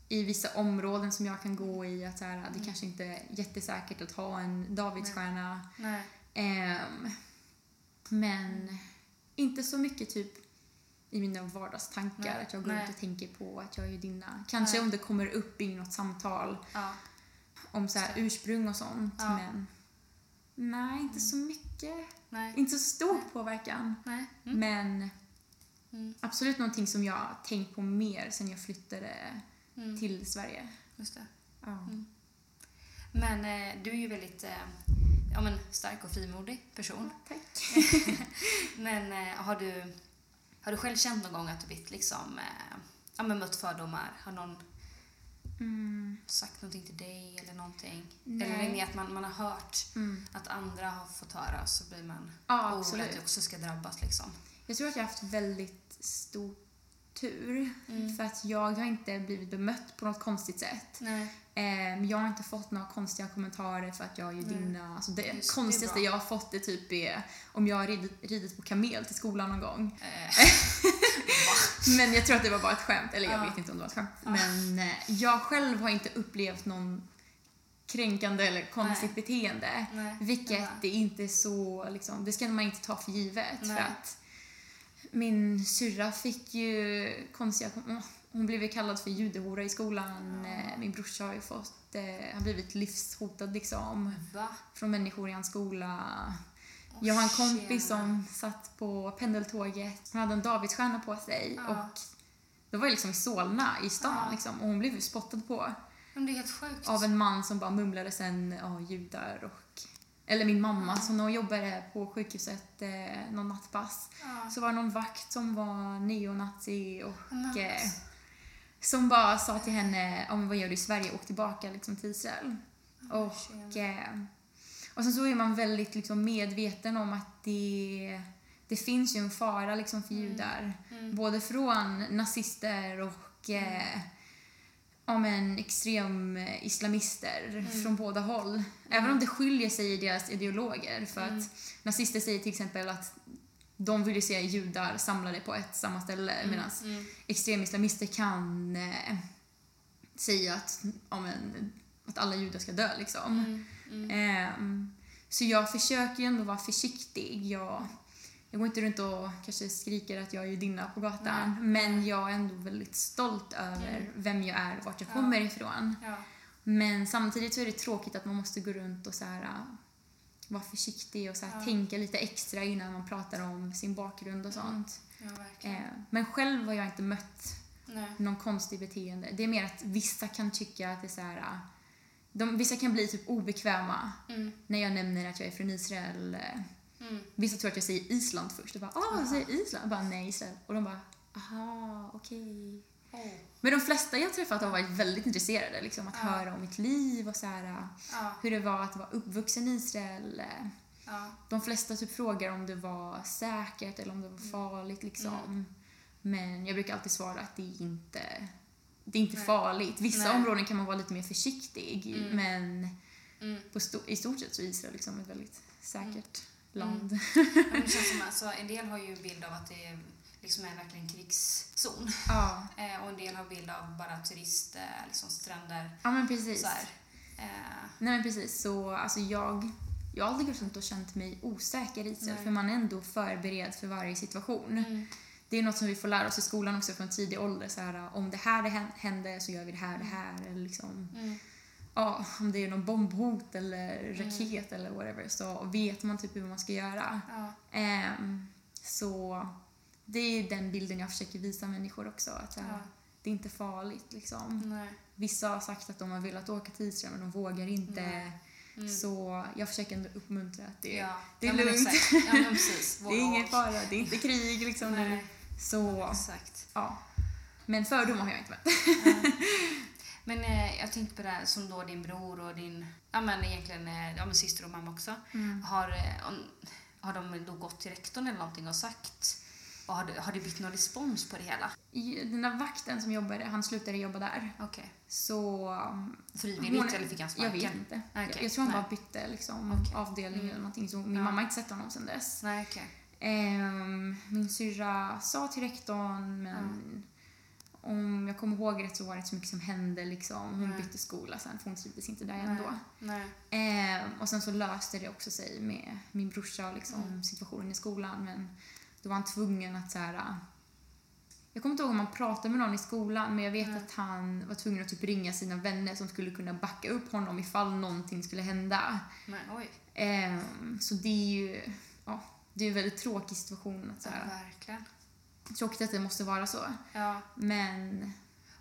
Speaker 2: i vissa områden som jag kan gå i att så här, det kanske inte är jättesäkert att ha en davidsstjärna
Speaker 3: Nej.
Speaker 2: Ehm, men inte så mycket typ i mina vardagstankar.
Speaker 3: Nej,
Speaker 2: Att jag går
Speaker 3: nej.
Speaker 2: runt och tänker på att jag är judinna. Kanske
Speaker 3: Nej.
Speaker 2: om det kommer upp i något samtal.
Speaker 3: Ja.
Speaker 2: om så här ursprung och sånt.
Speaker 3: Ja. Mm.
Speaker 2: Men nej, inte så mycket.
Speaker 3: Nej.
Speaker 2: Inte så stor påverkan.
Speaker 3: Nej. Mm.
Speaker 2: Men
Speaker 3: Mm.
Speaker 2: absolut någonting som jag har tänkt på mer sen jag flyttade
Speaker 3: Mm.
Speaker 2: till Sverige.
Speaker 3: Just det.
Speaker 2: Ja.
Speaker 3: Men eh, du är ju väldigt eh, ja, men stark och frimodig person.
Speaker 2: Tack.
Speaker 3: Men eh, har, du, har du själv känt någon gång att du blivit liksom, eh, ja, men mött fördomar? Har någon
Speaker 2: Mm.
Speaker 3: sagt någonting till dig eller någonting?
Speaker 2: Nej.
Speaker 3: Eller är det mer att man, man har hört
Speaker 2: Mm.
Speaker 3: att andra har fått höra och så blir man
Speaker 2: Ja,
Speaker 3: orolig
Speaker 2: absolut.
Speaker 3: att du också ska drabbas liksom?
Speaker 2: Jag tror att jag har haft väldigt stor tur.
Speaker 3: Mm.
Speaker 2: För att jag har inte blivit bemött på något konstigt sätt.
Speaker 3: Nej.
Speaker 2: Ehm, jag har inte fått några konstiga kommentarer för att jag är judinna. Alltså det
Speaker 3: Just det,
Speaker 2: konstigaste
Speaker 3: bra.
Speaker 2: jag har fått är typ är om jag har ridit, ridit på kamel till skolan någon gång. [LAUGHS]
Speaker 3: Eh,
Speaker 2: Men jag tror att det var bara ett skämt. Eller jag
Speaker 3: Ja.
Speaker 2: vet inte om det var ett skämt. Men eh, jag själv har inte upplevt någon kränkande eller konstigt beteende.
Speaker 3: nej.
Speaker 2: Vilket
Speaker 3: Ja.
Speaker 2: det inte är så, liksom, det ska man inte ta för givet.
Speaker 3: Nej.
Speaker 2: För att min syrra fick ju konstiga, hon blev ju kallad för judehora i skolan. Eh, Min brorsa har ju fått, eh, har blivit livshotad liksom
Speaker 3: Va?
Speaker 2: från människor i hans skola.
Speaker 3: Åh,
Speaker 2: Jag har en kompis
Speaker 3: tjena.
Speaker 2: som satt på pendeltåget, hon hade en davidsstjärna på sig
Speaker 3: Ja.
Speaker 2: och det var ju liksom i Solna, i stan
Speaker 3: Ja.
Speaker 2: liksom, och hon blev ju spottad på
Speaker 3: Men det är helt sjukt.
Speaker 2: av en man som bara mumlade sen ja, judar och... Eller min mamma, så när hon jobbade på sjukhuset eh, någon nattpass
Speaker 3: Ja.
Speaker 2: så var det någon vakt som var neonazi och
Speaker 3: Men-
Speaker 2: eh, som bara sa till henne om vad gör du i Sverige, åk tillbaka liksom, till Israel.
Speaker 3: Mm.
Speaker 2: Och, eh, och sen så är man väldigt liksom, medveten om att det, det finns ju en fara liksom, för judar.
Speaker 3: Mm.
Speaker 2: Både från nazister och eh, ja, men, extrem eh, islamister
Speaker 3: Mm.
Speaker 2: från båda håll. Även om det skiljer sig i deras ideologer. För
Speaker 3: Mm.
Speaker 2: att nazister säger till exempel att de vill ju se judar samlade på ett samma ställe medan
Speaker 3: Mm.
Speaker 2: extremislamister kan eh, säga att, ja, men, att alla judar ska dö. Liksom.
Speaker 3: Mm. Mm.
Speaker 2: Ehm, så jag försöker ju ändå vara försiktig. Jag, jag går inte runt och kanske skriker att jag är judinna på gatan. Men jag är ändå väldigt stolt över vem jag är och vart jag
Speaker 3: Mm. Ja.
Speaker 2: kommer ifrån.
Speaker 3: Ja.
Speaker 2: Men samtidigt så är det tråkigt att man måste gå runt och så här, äh, vara försiktig och så här,
Speaker 3: Ja.
Speaker 2: tänka lite extra innan man pratar om sin bakgrund och
Speaker 3: Mm,
Speaker 2: sånt.
Speaker 3: ja, verkligen.
Speaker 2: Ehm, men själv har jag inte mött
Speaker 3: Nej.
Speaker 2: någon konstig beteende. Det är mer att vissa kan tycka att det är så här... äh, De, vissa kan bli typ obekväma
Speaker 3: Mm.
Speaker 2: när jag nämner att jag är från Israel. eh,
Speaker 3: Mm.
Speaker 2: Vissa tror att jag säger Island först. Och bara, ah,
Speaker 3: Aha.
Speaker 2: du säger Island? Jag bara, nej, Israel. Och de bara, aha, okej.
Speaker 3: Oh.
Speaker 2: Men de flesta jag träffat har varit väldigt intresserade. Liksom, att
Speaker 3: Ja.
Speaker 2: höra om mitt liv och så här, eh,
Speaker 3: Ja.
Speaker 2: hur det var att vara uppvuxen i Israel. eh.
Speaker 3: Ja.
Speaker 2: De flesta typ frågar om det var säkert eller om det var
Speaker 3: Mm.
Speaker 2: farligt. Liksom. Men jag brukar alltid svara att det är inte det är inte
Speaker 3: Nej.
Speaker 2: farligt. Vissa
Speaker 3: Nej.
Speaker 2: områden kan man vara lite mer försiktig i,
Speaker 3: Mm.
Speaker 2: men
Speaker 3: Mm.
Speaker 2: [LAUGHS] på sto- i stort sett så är Israel liksom ett väldigt säkert
Speaker 3: Mm.
Speaker 2: land. [LAUGHS]
Speaker 3: Men det känns som, alltså, en del har ju en bild av att det är liksom är verkligen krigszon
Speaker 2: Ja.
Speaker 3: eh, och en del har bild av bara turist, eh, liksom stränder
Speaker 2: ja, men precis.
Speaker 3: så här. Eh,
Speaker 2: Nej, men precis. Så alltså jag, jag har aldrig gått runt och känt mig osäker i Israel
Speaker 3: Nej.
Speaker 2: för man är ändå förberedd för varje situation.
Speaker 3: mm.
Speaker 2: Det är något som vi får lära oss i skolan också från tidig ålder. Så här, om det här hän- händer så gör vi det här, det här. Eller liksom,
Speaker 3: Mm.
Speaker 2: ja, om det är någon bombhot eller raket eller whatever så vet man typ hur man ska göra.
Speaker 3: Ja.
Speaker 2: Ehm, så det är den bilden jag försöker visa människor också. Att så här,
Speaker 3: Ja.
Speaker 2: Det är inte farligt liksom.
Speaker 3: Nej.
Speaker 2: Vissa har sagt att de har velat åka till Israel men de vågar inte.
Speaker 3: Mm.
Speaker 2: Så jag försöker ändå uppmuntra att det,
Speaker 3: ja.
Speaker 2: det är
Speaker 3: ja, men
Speaker 2: lugnt.
Speaker 3: exakt. Ja, men
Speaker 2: [LAUGHS]
Speaker 3: precis.
Speaker 2: det är ingen
Speaker 3: Våg.
Speaker 2: fara, det är inte krig liksom nu.
Speaker 3: Nej,
Speaker 2: Så,
Speaker 3: exakt.
Speaker 2: ja. Men fördomar har jag inte mött.
Speaker 3: Men eh, jag tänkte på det här som då din bror och din, ja men egentligen eh, ja, men syster och mamma också. Har, eh, om, har de då gått till rektorn eller någonting och sagt? Och har, det- har det blivit någon respons på det hela?
Speaker 2: I- Den där vakten som jobbade, han slutade jobba där.
Speaker 3: Okej.
Speaker 2: Så...
Speaker 3: Frivilligt
Speaker 2: hon-
Speaker 3: eller fick han
Speaker 2: Jag
Speaker 3: sparken?
Speaker 2: vet inte.
Speaker 3: Okej,
Speaker 2: Jag, jag tror han
Speaker 3: nej.
Speaker 2: bara bytte liksom,
Speaker 3: Okej.
Speaker 2: avdelning
Speaker 3: Mm.
Speaker 2: eller någonting. Så min
Speaker 3: Ja.
Speaker 2: mamma har inte sett honom sedan dess.
Speaker 3: Nej, okej.
Speaker 2: Ehm, min syrra sa till rektorn men om jag kommer ihåg rätt så var det inte så mycket som hände. Liksom. Hon
Speaker 3: Nej.
Speaker 2: bytte skola sen för hon trivdes inte där
Speaker 3: Nej.
Speaker 2: ändå.
Speaker 3: Nej.
Speaker 2: Ehm, och sen så löste det också sig med min
Speaker 3: Mm.
Speaker 2: brorsa och liksom, situationen i skolan. Men då var han tvungen att så här, äh, Jag kommer inte ihåg om man pratade med någon i skolan men jag vet att han var tvungen att typ ringa sina vänner som skulle kunna backa upp honom ifall någonting skulle hända.
Speaker 3: Men oj,
Speaker 2: Ehm, så det är ju ja, det är en väldigt tråkig situation. Att, så
Speaker 3: ja,
Speaker 2: här,
Speaker 3: verkligen.
Speaker 2: tråkigt att det måste vara så.
Speaker 3: Ja.
Speaker 2: Men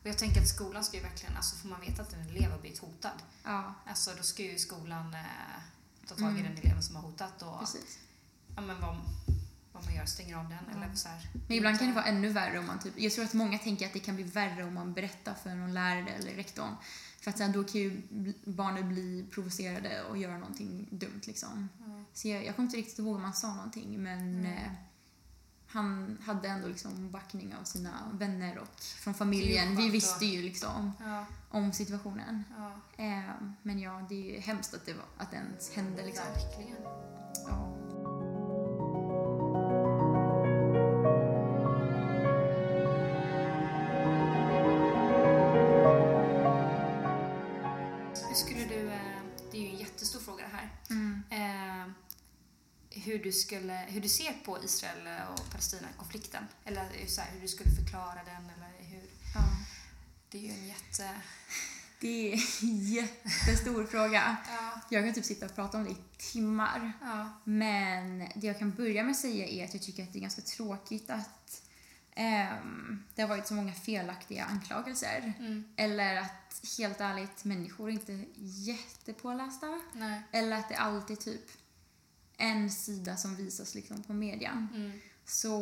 Speaker 3: Och jag tänker att skolan ska ju verkligen, alltså får man veta att en elev har blivit hotad,
Speaker 2: ja,
Speaker 3: alltså då ska ju skolan eh, ta
Speaker 2: Mm.
Speaker 3: tag i den eleven som har hotat och
Speaker 2: precis.
Speaker 3: ja, men vad, vad man gör, stänger av den eller så här.
Speaker 2: Men ibland kan det vara ännu värre om man typ, jag tror att många tänker att det kan bli värre om man berättar för någon lärare eller rektorn. För att sen då kan ju bl- barnen bli provocerade och göra någonting dumt liksom.
Speaker 3: Ja.
Speaker 2: Så jag, jag kommer inte riktigt ihåg om han sa någonting men
Speaker 3: Mm.
Speaker 2: eh, han hade ändå liksom backning av sina vänner och från familjen. Vi
Speaker 3: skönt
Speaker 2: visste
Speaker 3: då.
Speaker 2: ju liksom
Speaker 3: Ja,
Speaker 2: om situationen.
Speaker 3: ja.
Speaker 2: Eh, men ja, det är ju hemskt att det, var, att det ens hände liksom.
Speaker 3: Verkligen.
Speaker 2: Ja.
Speaker 3: Hur skulle du, eh, det är ju en jättestor fråga det här,
Speaker 2: Mm.
Speaker 3: eh, hur, du skulle, hur du ser på Israel och Palestina-konflikten. Eller så här, hur du skulle förklara den. Eller hur.
Speaker 2: Ja.
Speaker 3: Det är ju en jätte...
Speaker 2: Det är en [LAUGHS] jättestor fråga.
Speaker 3: Ja.
Speaker 2: Jag kan typ sitta och prata om det i timmar.
Speaker 3: Ja.
Speaker 2: Men det jag kan börja med att säga är att jag tycker att det är ganska tråkigt att ehm, det har varit så många felaktiga anklagelser.
Speaker 3: Mm.
Speaker 2: Eller att helt ärligt, människor är inte jättepålästa.
Speaker 3: Nej.
Speaker 2: Eller att det alltid är typ en sida som visas liksom på median.
Speaker 3: Mm.
Speaker 2: Så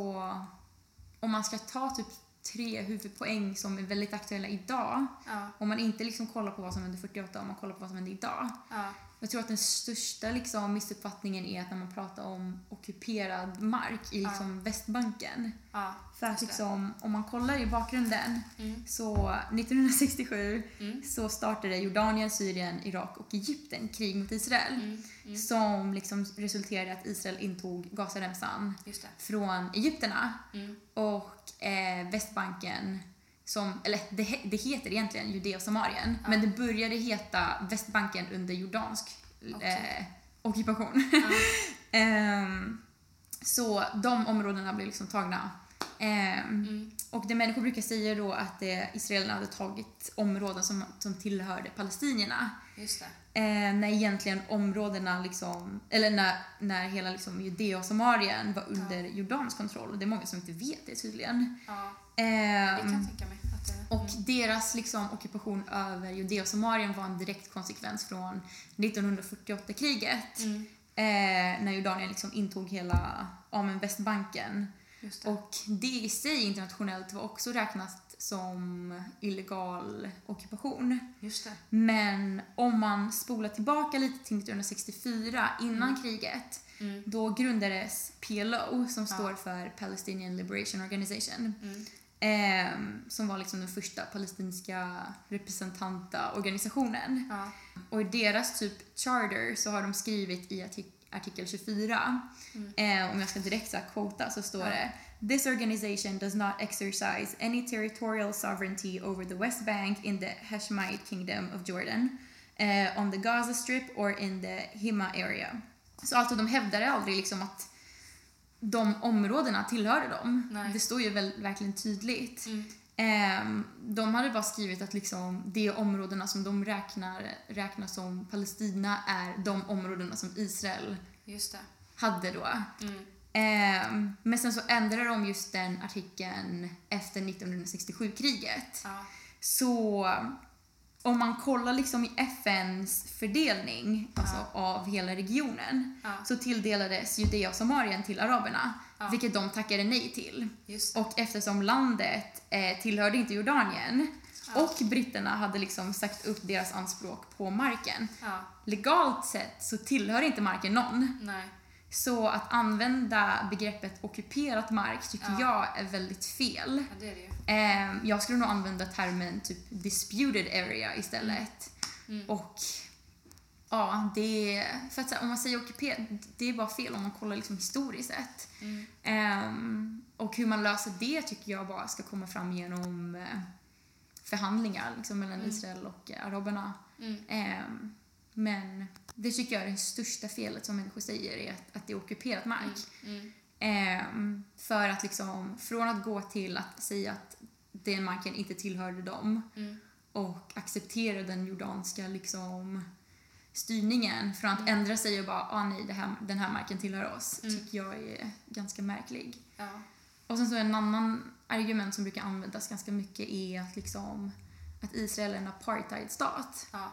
Speaker 2: om man ska ta typ tre huvudpoäng som är väldigt aktuella idag,
Speaker 3: Ja.
Speaker 2: om man inte liksom kollar på vad som hände 48, om man kollar på vad som hände idag.
Speaker 3: Ja.
Speaker 2: Jag tror att den största liksom missuppfattningen är att när man pratar om ockuperad mark i liksom Västbanken.
Speaker 3: Ja.
Speaker 2: För att
Speaker 3: Just det.
Speaker 2: liksom, om man kollar i bakgrunden
Speaker 3: Mm.
Speaker 2: så 1967
Speaker 3: Mm.
Speaker 2: så startade Jordanien, Syrien, Irak och Egypten krig mot Israel.
Speaker 3: Mm. Mm.
Speaker 2: Som liksom resulterade i att Israel intog Gazaremsan
Speaker 3: Just det.
Speaker 2: från Egypterna
Speaker 3: Mm.
Speaker 2: och eh, Västbanken som, eller det, he- det heter egentligen Judea och Samarien, men det började heta Västbanken under jordansk eh,
Speaker 3: Okej.
Speaker 2: ockupation.
Speaker 3: Ja.
Speaker 2: [LAUGHS] Ehm, så de områdena blev liksom tagna. Ehm,
Speaker 3: Mm.
Speaker 2: och det människor brukar säga då att eh, israelerna hade tagit områden som, som tillhörde palestinierna.
Speaker 3: Just det.
Speaker 2: Eh, när egentligen områdena liksom, eller när, när hela liksom Judea och Samarien var under Jordans kontroll. Och det är många som inte vet det tydligen.
Speaker 3: Ja. Det
Speaker 2: Ehm,
Speaker 3: kan jag tänka mig. Att det,
Speaker 2: och deras liksom ockupation över Judea och Samarien var en direkt konsekvens från 1948-kriget.
Speaker 3: mm.
Speaker 2: Eh, när Jordanien liksom intog hela ja, men Västbanken.
Speaker 3: Just det.
Speaker 2: Och det i sig internationellt var också räknat som illegal ockupation.
Speaker 3: Just det.
Speaker 2: Men om man spolar tillbaka lite till 1964 innan kriget
Speaker 3: Mm.
Speaker 2: då grundades PLO som
Speaker 3: Ja.
Speaker 2: står för Palestinian Liberation Organization
Speaker 3: Mm.
Speaker 2: ehm, som var liksom den första palestinska representanta organisationen.
Speaker 3: Ja.
Speaker 2: Och i deras typ charter så har de skrivit i artik- artikel 24,
Speaker 3: Mm.
Speaker 2: eh, om jag ska direkt så här quota så står
Speaker 3: Ja.
Speaker 2: det This organization does not exercise any territorial sovereignty over the West Bank in the Hashemite kingdom of Jordan, eh, on the Gaza strip or in the Hima area. Så alltså de hävdade aldrig liksom att de områdena tillhörde dem.
Speaker 3: Nej.
Speaker 2: Det står ju väl, verkligen tydligt.
Speaker 3: Mm.
Speaker 2: Ehm, de hade bara skrivit att liksom de områdena som de räknar, räknar som Palestina är de områdena som Israel
Speaker 3: Just det.
Speaker 2: hade då.
Speaker 3: Mm.
Speaker 2: Ehm, men sen så ändrade de just den artikeln efter 1967-kriget.
Speaker 3: Ja.
Speaker 2: Så om man kollar liksom i FNs fördelning alltså av hela regionen
Speaker 3: Ja.
Speaker 2: så tilldelades Judea och Samarien till araberna,
Speaker 3: Ja.
Speaker 2: vilket de tackade nej till.
Speaker 3: Just det.
Speaker 2: Och eftersom landet eh, tillhörde inte Jordanien
Speaker 3: Ja.
Speaker 2: och britterna hade liksom sagt upp deras anspråk på marken.
Speaker 3: Ja.
Speaker 2: Legalt sett så tillhör inte marken någon.
Speaker 3: Nej.
Speaker 2: Så att använda begreppet ockuperat mark tycker
Speaker 3: Ja.
Speaker 2: jag är väldigt fel.
Speaker 3: Ja, det är det ju.
Speaker 2: Eh, jag skulle nog använda termen typ disputed area istället.
Speaker 3: Mm.
Speaker 2: Och ja, det är, för att så här, om man säger ockuperat, det är bara fel om man kollar liksom historiskt sett.
Speaker 3: Mm.
Speaker 2: Ehm, och hur man löser det tycker jag bara ska komma fram genom eh, förhandlingar liksom, mellan
Speaker 3: Mm.
Speaker 2: Israel och eh, araberna.
Speaker 3: Mm.
Speaker 2: Ehm, men det tycker jag är det största felet som människor säger är att, att det är ockuperat mark.
Speaker 3: Mm.
Speaker 2: Ehm, för att liksom, från att gå till att säga att den marken inte tillhörde dem
Speaker 3: Mm.
Speaker 2: och acceptera den jordanska liksom, styrningen från att ändra sig och bara ah, nej, det här, den här marken tillhör oss
Speaker 3: Mm.
Speaker 2: tycker jag är ganska märklig.
Speaker 3: Ja.
Speaker 2: Och sen så en annan argument som brukar användas ganska mycket är att, liksom, att Israel är en apartheidstat.
Speaker 3: Ja.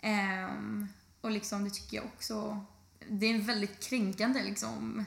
Speaker 2: Ehm, och liksom, det tycker jag också, det är en väldigt kränkande liksom,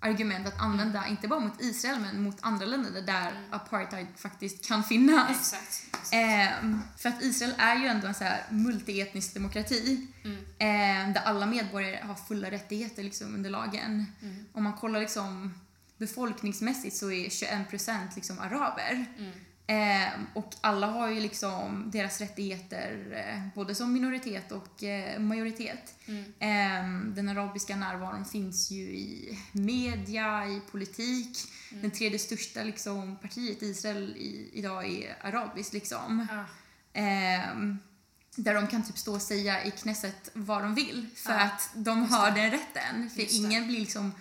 Speaker 2: argument att använda, inte bara mot Israel men mot andra länder där apartheid faktiskt kan finnas.
Speaker 3: Exakt. exakt.
Speaker 2: Ehm, för att Israel är ju ändå en så här multietnisk demokrati
Speaker 3: Mm.
Speaker 2: ehm, där alla medborgare har fulla rättigheter liksom, under lagen.
Speaker 3: Mm.
Speaker 2: Om man kollar liksom, befolkningsmässigt så är 21% liksom, araber.
Speaker 3: Mm.
Speaker 2: Ehm, och alla har ju liksom deras rättigheter eh, både som minoritet och eh, majoritet.
Speaker 3: Mm.
Speaker 2: Ehm, den arabiska närvaron finns ju i media, i politik. Den tredje största liksom, partiet i Israel i, idag är arabiskt. Liksom.
Speaker 3: Ja.
Speaker 2: Ehm, där de kan typ stå och säga i Knesset vad de vill för
Speaker 3: Ja,
Speaker 2: att de
Speaker 3: just
Speaker 2: har
Speaker 3: det.
Speaker 2: den rätten. För
Speaker 3: Just det.
Speaker 2: ingen blir liksom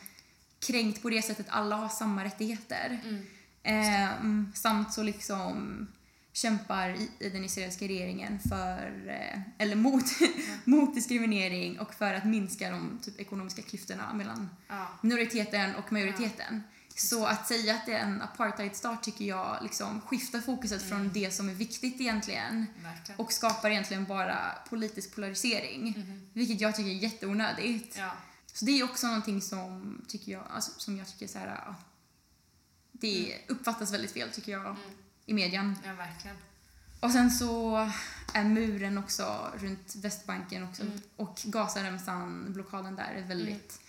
Speaker 2: kränkt på det sättet, alla har samma rättigheter.
Speaker 3: Mm.
Speaker 2: Ehm, samt så liksom kämpar i- i den israeliska regeringen för, eh, eller mot, [LAUGHS] mot diskriminering och för att minska de typ, ekonomiska klyftorna mellan
Speaker 3: Ja.
Speaker 2: minoriteten och majoriteten. Så att säga att det är en apartheidstat tycker jag liksom skiftar fokuset från
Speaker 3: Mm.
Speaker 2: det som är viktigt egentligen
Speaker 3: Verkligen.
Speaker 2: och skapar egentligen bara politisk polarisering, vilket jag tycker är jätteonödigt.
Speaker 3: Mm. Ja.
Speaker 2: Så det är också någonting som, tycker jag, alltså, som jag tycker så här, ja, det uppfattas väldigt fel tycker jag i medien.
Speaker 3: ja, verkligen.
Speaker 2: Och sen så är muren också runt Västbanken också, och Gazaremsan, blockaden där, är väldigt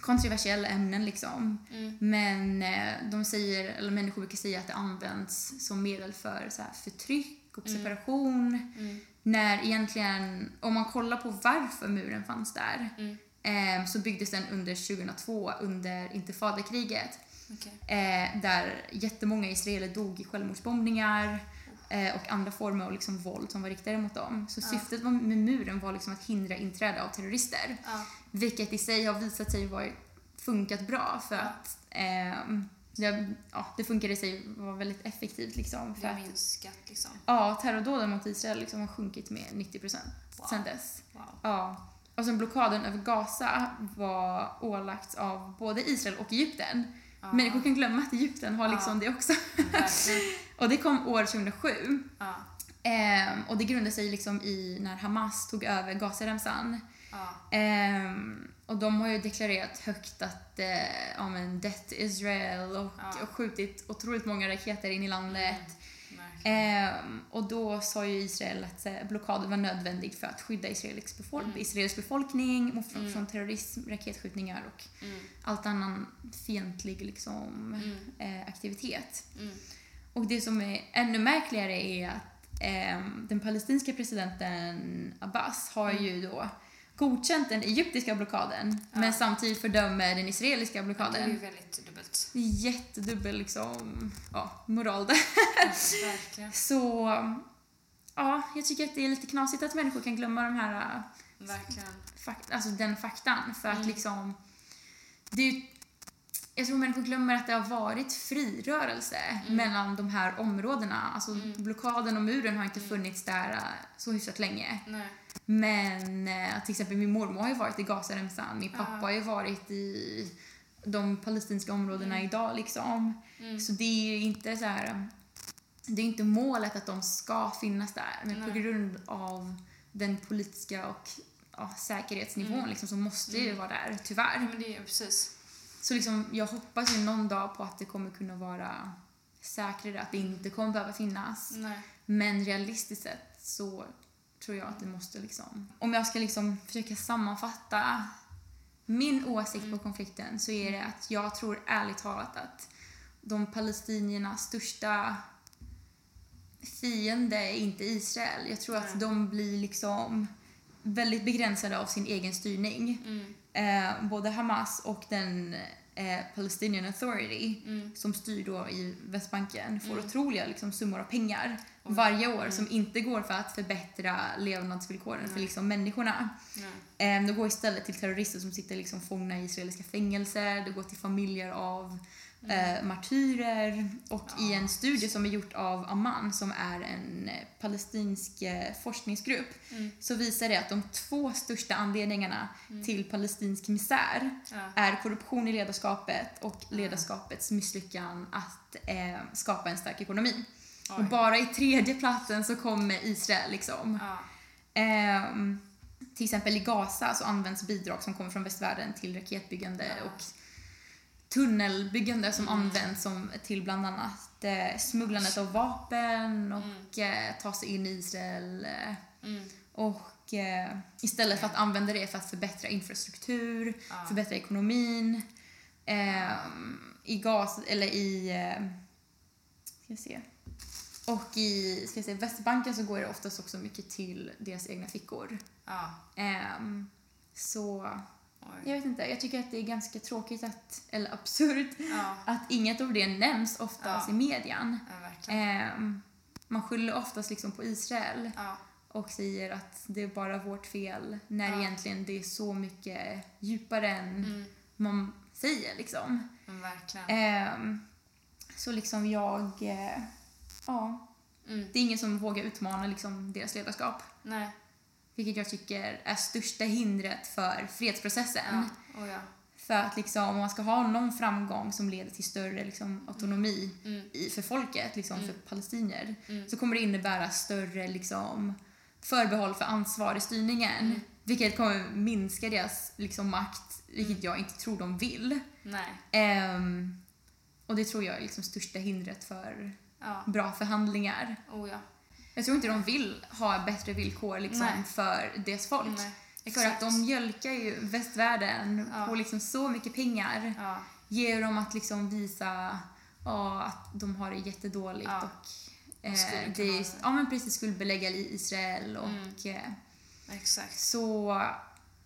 Speaker 2: kontroversiella ämnen liksom.
Speaker 3: Mm.
Speaker 2: Men eh, de säger, eller människor brukar säga att det används som medel för så här, förtryck och separation.
Speaker 3: Mm.
Speaker 2: När egentligen, om man kollar på varför muren fanns där,
Speaker 3: Mm.
Speaker 2: eh, så byggdes den under 2002 under intifadakriget.
Speaker 3: Okej.
Speaker 2: Eh, där jättemånga israeler dog i självmordsbombningar eh, och andra former av liksom, våld som var riktade mot dem. Så syftet var- med muren var liksom att hindra inträde av terrorister.
Speaker 3: Ja.
Speaker 2: Vilket i sig har visat sig vara funkat bra för
Speaker 3: Ja.
Speaker 2: att ehm, det, ja, det funkade i sig var väldigt effektivt. Liksom, för
Speaker 3: Det har
Speaker 2: att,
Speaker 3: minskat liksom.
Speaker 2: ja, terrordåden mot Israel liksom har sjunkit med 90 procent
Speaker 3: Wow.
Speaker 2: sedan dess.
Speaker 3: Wow.
Speaker 2: Ja. Och sen blockaden över Gaza var ålagt av både Israel och Egypten.
Speaker 3: Ja.
Speaker 2: Människor kan glömma att Egypten har liksom det också.
Speaker 3: Verkligen.
Speaker 2: Och det kom år 2007.
Speaker 3: Ja.
Speaker 2: Ehm, och det grundade sig liksom i när Hamas tog över Gazaremsan.
Speaker 3: Ja.
Speaker 2: Ehm, och de har ju deklarerat högt att eh, ja, men death Israel och,
Speaker 3: Ja.
Speaker 2: och skjutit otroligt många raketer in i landet.
Speaker 3: Verkligen.
Speaker 2: Ehm, och då sa ju Israel att eh, blockaden var nödvändig för att skydda Israels, befol-
Speaker 3: Mm.
Speaker 2: Israels befolkning mot, från, från terrorism, raketskjutningar och
Speaker 3: Mm.
Speaker 2: allt annan fientlig liksom, eh, aktivitet.
Speaker 3: Mm.
Speaker 2: Och det som är ännu märkligare är att ehm, den palestinska presidenten Abbas har
Speaker 3: Mm.
Speaker 2: ju då godkänt den egyptiska blockaden men samtidigt fördömer den israeliska
Speaker 3: Det är ju
Speaker 2: blockaden.
Speaker 3: väldigt dubbelt.
Speaker 2: Det är jättedubbel liksom, ja, moral där.
Speaker 3: Verkligen.
Speaker 2: Så ja, jag tycker att det är lite knasigt att människor kan glömma de här,
Speaker 3: Verkligen.
Speaker 2: äh, fak- alltså den faktan för att liksom det är ju, jag tror människor glömmer att det har varit fri rörelse mellan de här områdena. Alltså blockaden och muren har inte funnits där äh, så hyfsat länge.
Speaker 3: Nej.
Speaker 2: Men eh, till exempel min mormor har ju varit i Gazaremsan, min pappa
Speaker 3: Ja.
Speaker 2: har ju varit i de palestinska områdena idag liksom. Så det är ju inte så här, um, det är inte målet att de ska finnas där men på
Speaker 3: Nej.
Speaker 2: grund av den politiska och ja, säkerhetsnivån liksom, så måste det ju vara där,
Speaker 3: Ja,
Speaker 2: tyvärr.
Speaker 3: men det är ju precis.
Speaker 2: Så liksom, jag hoppas ju någon dag på att det kommer kunna vara säkrare, att det inte kommer behöva finnas.
Speaker 3: Nej.
Speaker 2: Men realistiskt sett så tror jag att det måste liksom... Om jag ska liksom försöka sammanfatta min åsikt på konflikten så är det att jag tror ärligt talat att de palestiniernas största fiende är inte Israel. Jag tror att
Speaker 3: Nej.
Speaker 2: de blir liksom väldigt begränsade av sin egen styrning.
Speaker 3: Mm.
Speaker 2: Eh, både Hamas och den eh, Palestinian Authority
Speaker 3: Mm.
Speaker 2: som styr då i Västbanken får otroliga liksom, summor av pengar
Speaker 3: Mm.
Speaker 2: varje år som inte går för att förbättra levnadsvillkoren för
Speaker 3: Nej.
Speaker 2: liksom människorna.
Speaker 3: Nej.
Speaker 2: Eh, Det går istället till terrorister som sitter liksom fångna i israeliska fängelser, det går till familjer av eh, martyrer och i en studie som är gjord av Amman som är en eh, palestinsk eh, forskningsgrupp
Speaker 3: Mm.
Speaker 2: så visar det att de två största anledningarna till palestinsk misär
Speaker 3: Ja.
Speaker 2: är korruption i ledarskapet och ledarskapets misslyckan att eh, skapa en stark ekonomi.
Speaker 3: Oj.
Speaker 2: Och bara i tredje platsen så kommer Israel liksom.
Speaker 3: Ja.
Speaker 2: Ehm, till exempel i Gaza så används bidrag som kommer från västvärlden till raketbyggande
Speaker 3: Ja. Mm.
Speaker 2: och tunnelbyggande som används som, till bland annat eh, smugglandet av vapen och eh, ta sig in i Israel. eh,
Speaker 3: Mm.
Speaker 2: Och eh, istället för att använda det för att förbättra infrastruktur,
Speaker 3: Ja.
Speaker 2: förbättra ekonomin. ehm, I gas, eller i... Eh, ska vi se. Och i ska vi se, Västbanken så går det oftast också mycket till deras egna fickor.
Speaker 3: Ja.
Speaker 2: Ehm, så
Speaker 3: Oj.
Speaker 2: jag vet inte, jag tycker att det är ganska tråkigt att, eller absurt, [LAUGHS]
Speaker 3: Ja.
Speaker 2: att inget av det nämns oftast
Speaker 3: Ja.
Speaker 2: i median.
Speaker 3: ja, verkligen.
Speaker 2: Ehm, man skyller oftast liksom på Israel
Speaker 3: Ja.
Speaker 2: och säger att det är bara vårt fel när
Speaker 3: Ja.
Speaker 2: egentligen det är så mycket djupare än
Speaker 3: Mm.
Speaker 2: man säger. Liksom.
Speaker 3: Men verkligen.
Speaker 2: Ehm, så liksom jag... Eh, ja,
Speaker 3: Mm.
Speaker 2: det är ingen som vågar utmana liksom, deras ledarskap.
Speaker 3: Nej.
Speaker 2: Vilket jag tycker är största hindret för fredsprocessen.
Speaker 3: Ja. Oh, ja.
Speaker 2: För att liksom, om man ska ha någon framgång som leder till större liksom, autonomi
Speaker 3: Mm.
Speaker 2: i, för folket, liksom,
Speaker 3: Mm.
Speaker 2: för palestinier,
Speaker 3: Mm.
Speaker 2: så kommer det innebära större liksom, förbehåll för ansvar i styrningen.
Speaker 3: Mm.
Speaker 2: Vilket kommer minska deras liksom, makt,
Speaker 3: Mm.
Speaker 2: vilket jag inte tror de vill.
Speaker 3: Nej.
Speaker 2: Ehm, och det tror jag är liksom största hindret för
Speaker 3: Ja.
Speaker 2: bra förhandlingar.
Speaker 3: Oh, ja.
Speaker 2: Jag tror inte de vill ha bättre villkor
Speaker 3: Nej.
Speaker 2: liksom, för deras folk.
Speaker 3: Nej.
Speaker 2: För att
Speaker 3: Exakt.
Speaker 2: de mjölkar ju västvärlden
Speaker 3: Ja.
Speaker 2: på liksom så mycket pengar.
Speaker 3: Ja.
Speaker 2: Ger dem att liksom visa ja, att de har det jättedåligt
Speaker 3: Ja.
Speaker 2: och
Speaker 3: Och skulle
Speaker 2: eh,
Speaker 3: kunna Mm.
Speaker 2: det
Speaker 3: ha
Speaker 2: är,
Speaker 3: det.
Speaker 2: ja, men precis, skuldbelägga i- Israel. Och, eh,
Speaker 3: Exakt.
Speaker 2: så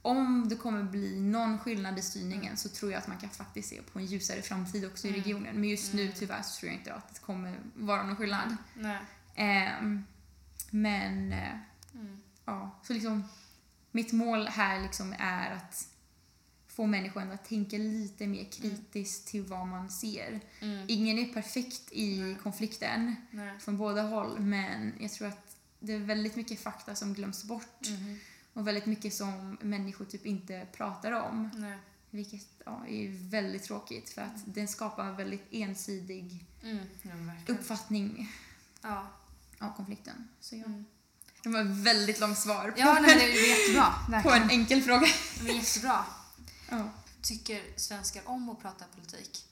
Speaker 2: om det kommer bli någon skillnad i styrningen så tror jag att man kan faktiskt se på en ljusare framtid också i regionen. Men just nu tyvärr så tror jag inte att det kommer vara någon skillnad.
Speaker 3: Nej.
Speaker 2: Ehm, men eh,
Speaker 3: Mm.
Speaker 2: ja, så liksom mitt mål här liksom är att få människan att tänka lite mer kritiskt till vad man ser.
Speaker 3: Mm.
Speaker 2: Ingen är perfekt i konflikten
Speaker 3: Nej.
Speaker 2: från båda håll men jag tror att det är väldigt mycket fakta som glöms bort
Speaker 3: Mhm.
Speaker 2: och väldigt mycket som människor typ inte pratar om.
Speaker 3: Nej.
Speaker 2: Vilket ja, är väldigt tråkigt för att den skapar en väldigt ensidig
Speaker 3: Mm. Ja, verkligen.
Speaker 2: uppfattning
Speaker 3: Ja.
Speaker 2: av konflikten. Så ja.
Speaker 3: Mm.
Speaker 2: Det var ett väldigt långt svar på,
Speaker 3: Ja, nej, men det är
Speaker 2: [LAUGHS]
Speaker 3: jättebra.
Speaker 2: på
Speaker 3: Verkligen.
Speaker 2: en enkel fråga.
Speaker 3: Men jättebra.
Speaker 2: Ja.
Speaker 3: Tycker svenskar om att prata politik?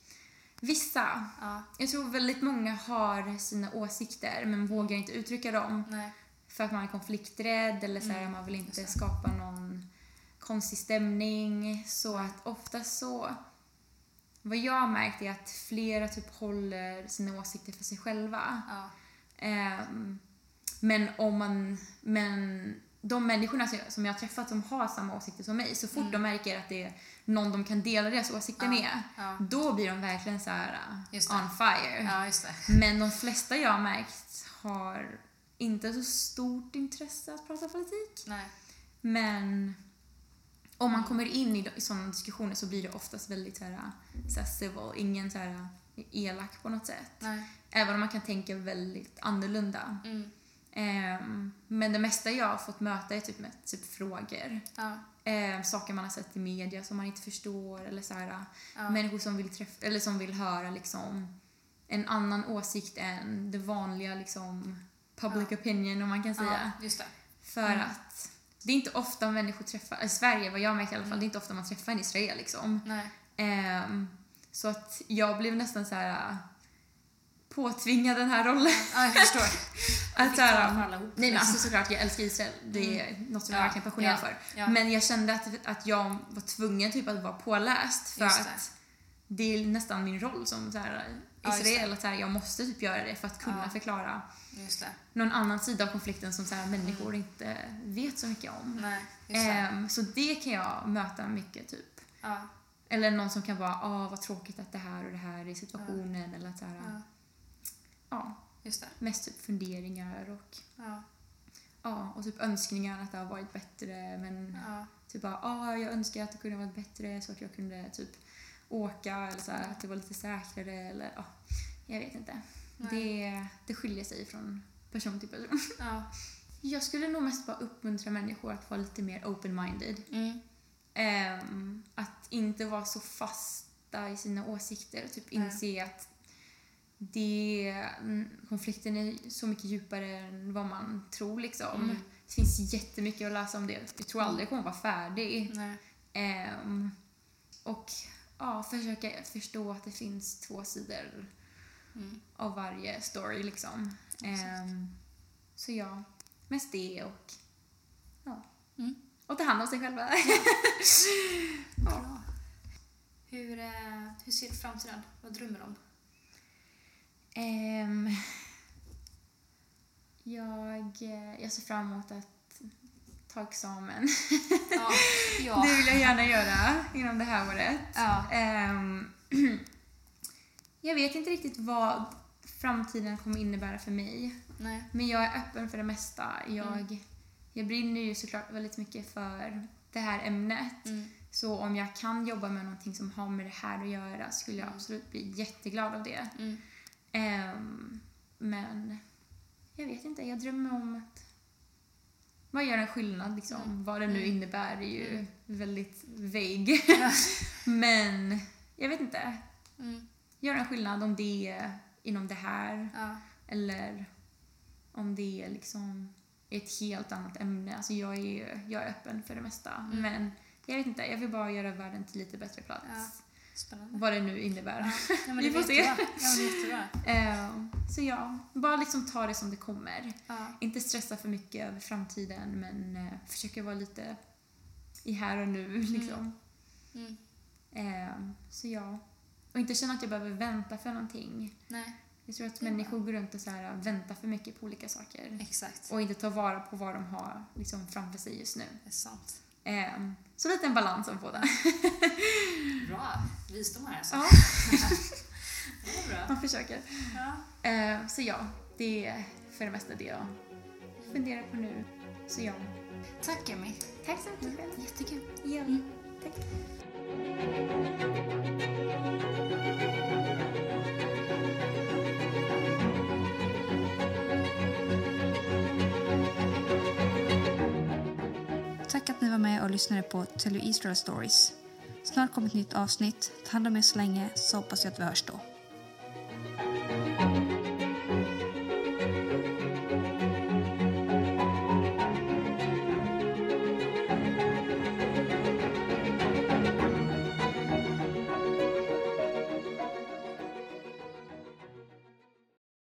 Speaker 2: Vissa.
Speaker 3: Ja.
Speaker 2: Jag tror väldigt många har sina åsikter men vågar inte uttrycka dem
Speaker 3: Nej.
Speaker 2: för att man är konflikträdd eller så här,
Speaker 3: Mm,
Speaker 2: man vill inte skapa någon konstig stämning. Så att ofta så... Vad jag har märkt är att flera typ håller sina åsikter för sig själva.
Speaker 3: Ja.
Speaker 2: Ehm, men om man... Men de människorna som jag, som jag har träffat som har samma åsikter som mig, så fort de märker att det är någon de kan dela deras åsikter
Speaker 3: Mm. Ja.
Speaker 2: med,
Speaker 3: Ja.
Speaker 2: då blir de verkligen så här uh,
Speaker 3: Just det.
Speaker 2: on fire.
Speaker 3: ja, just det.
Speaker 2: Men de flesta jag har märkt har inte så stort intresse att prata politik.
Speaker 3: Nej.
Speaker 2: Men om man kommer in i, i sådana diskussioner så blir det oftast väldigt så här, så här civil, ingen så här eh, elak på något sätt.
Speaker 3: Nej.
Speaker 2: Även om man kan tänka väldigt annorlunda.
Speaker 3: Mm.
Speaker 2: Ehm, men det mesta jag har fått möta är typ, med, typ frågor.
Speaker 3: Ja.
Speaker 2: Ehm, saker man har sett i media som man inte förstår eller så här,
Speaker 3: Ja.
Speaker 2: människor som vill, träffa, eller som vill höra liksom, en annan åsikt än det vanliga liksom, public opinion, om man kan säga.
Speaker 3: ja. Mm. Just det.
Speaker 2: För att det är inte ofta människor träffar, i Sverige vad jag märker i alla fall, det är inte ofta man träffar en israel. Liksom.
Speaker 3: Nej.
Speaker 2: Ehm, så att jag blev nästan så här äh, påtvingad den här rollen. [LAUGHS]
Speaker 3: Ja, jag förstår.
Speaker 2: Att, så
Speaker 3: ta
Speaker 2: här,
Speaker 3: det för alla ihop,
Speaker 2: nej men
Speaker 3: liksom.
Speaker 2: alltså såklart, jag älskar Israel. Det är något som jag
Speaker 3: Ja,
Speaker 2: verkligen är passionerad
Speaker 3: ja,
Speaker 2: för.
Speaker 3: ja.
Speaker 2: Men jag kände att, att jag var tvungen typ att vara påläst för
Speaker 3: Just det.
Speaker 2: att det är nästan min roll som så här,
Speaker 3: Ja, just
Speaker 2: Israel, att så här, jag måste typ göra det för att kunna
Speaker 3: Ja.
Speaker 2: förklara
Speaker 3: Just det.
Speaker 2: någon annan sida av konflikten som så här, människor inte vet så mycket om.
Speaker 3: Nej. Just det.
Speaker 2: Ehm, så det kan jag möta mycket typ.
Speaker 3: Ja.
Speaker 2: Eller någon som kan vara ah vad tråkigt att det här och det här är situationen eller att så här, ja.
Speaker 3: Ja. Just det.
Speaker 2: Mest typ funderingar och,
Speaker 3: Ja.
Speaker 2: ja, och typ önskningar att det har varit bättre. Men
Speaker 3: ja.
Speaker 2: typ bara, ah, jag önskar att det kunde ha varit bättre så att jag kunde typ åka eller så här, att det var lite säkrare eller ja, jag vet inte.
Speaker 3: Nej.
Speaker 2: Det, det skiljer sig från person till person. [LAUGHS]
Speaker 3: ja.
Speaker 2: Jag skulle nog mest bara uppmuntra människor att vara lite mer open-minded.
Speaker 3: Mm.
Speaker 2: Ehm, att inte vara så fasta i sina åsikter och typ
Speaker 3: Nej.
Speaker 2: inse att det, mm, konflikten är så mycket djupare än vad man tror. Liksom.
Speaker 3: Mm.
Speaker 2: Det finns jättemycket att läsa om det. Jag tror aldrig jag kommer vara färdig.
Speaker 3: Nej.
Speaker 2: Ehm, och ja, försöka förstå att det finns två sidor
Speaker 3: Mm.
Speaker 2: av varje story. Liksom.
Speaker 3: Exakt.
Speaker 2: Ehm, så ja, mest det och ja.
Speaker 3: Mm.
Speaker 2: Och ta hand om sig själva. [LAUGHS]
Speaker 3: Bra. Hur, eh, hur ser du framtiden? Vad drömmer du om?
Speaker 2: Ehm, jag, eh, jag ser fram emot att ta examen. [LAUGHS]
Speaker 3: Ja.
Speaker 2: Det
Speaker 3: ja.
Speaker 2: vill jag gärna göra inom det här året.
Speaker 3: ja.
Speaker 2: Ehm, [CLEARS THROAT] jag vet inte riktigt vad framtiden kommer innebära för mig.
Speaker 3: Nej.
Speaker 2: Men jag är öppen för det mesta. Jag,
Speaker 3: Mm.
Speaker 2: jag brinner ju såklart väldigt mycket för det här ämnet.
Speaker 3: Mm.
Speaker 2: Så om jag kan jobba med någonting som har med det här att göra skulle jag
Speaker 3: Mm.
Speaker 2: absolut bli jätteglad av det.
Speaker 3: Mm.
Speaker 2: Ehm, men jag vet inte, jag drömmer om att man gör en skillnad liksom.
Speaker 3: Mm.
Speaker 2: Vad det nu
Speaker 3: Mm.
Speaker 2: innebär är ju
Speaker 3: Mm.
Speaker 2: väldigt vague. [LAUGHS]
Speaker 3: Ja.
Speaker 2: men jag vet inte,
Speaker 3: Mm. [LAUGHS]
Speaker 2: göra en skillnad om det är inom det här
Speaker 3: Ja.
Speaker 2: eller om det är liksom ett helt annat ämne. Alltså jag är, jag är öppen för det mesta.
Speaker 3: Mm.
Speaker 2: Men jag vet inte, jag vill bara göra världen till lite bättre plats.
Speaker 3: Ja. Spännande.
Speaker 2: Vad det nu innebär.
Speaker 3: Ja. Ja, men
Speaker 2: Vi
Speaker 3: det
Speaker 2: får
Speaker 3: var
Speaker 2: se.
Speaker 3: jättebra. Ja, men det är jättebra.
Speaker 2: Ehm, så ja, bara liksom ta det som det kommer.
Speaker 3: Ja.
Speaker 2: Inte stressa för mycket över framtiden men eh, försöka vara lite i här och nu liksom.
Speaker 3: Mm.
Speaker 2: Ehm, så ja. Och inte känna att jag behöver vänta för någonting.
Speaker 3: Nej,
Speaker 2: Jag tror att
Speaker 3: Det är
Speaker 2: människor går runt och så här, väntar för mycket på olika saker.
Speaker 3: exakt.
Speaker 2: Och inte tar vara på vad de har liksom, framför sig just nu.
Speaker 3: Det är sant.
Speaker 2: Ehm, så lite en balans av båda.
Speaker 3: Bra visdom här alltså.
Speaker 2: Ja,
Speaker 3: Det är bra.
Speaker 2: [LAUGHS] man försöker.
Speaker 3: Ja.
Speaker 2: Ehm, så ja, det är för det mesta det jag funderar på nu. Så ja,
Speaker 3: Tack Emmy.
Speaker 2: tack så mycket själv.
Speaker 3: Jättekul.
Speaker 2: Ja, tack.
Speaker 1: Tack att ni var med och lyssnade på Tell You Israel Stories. Snart kommer ett nytt avsnitt. Ta hand om er så länge så hoppas jag att vi hörs då.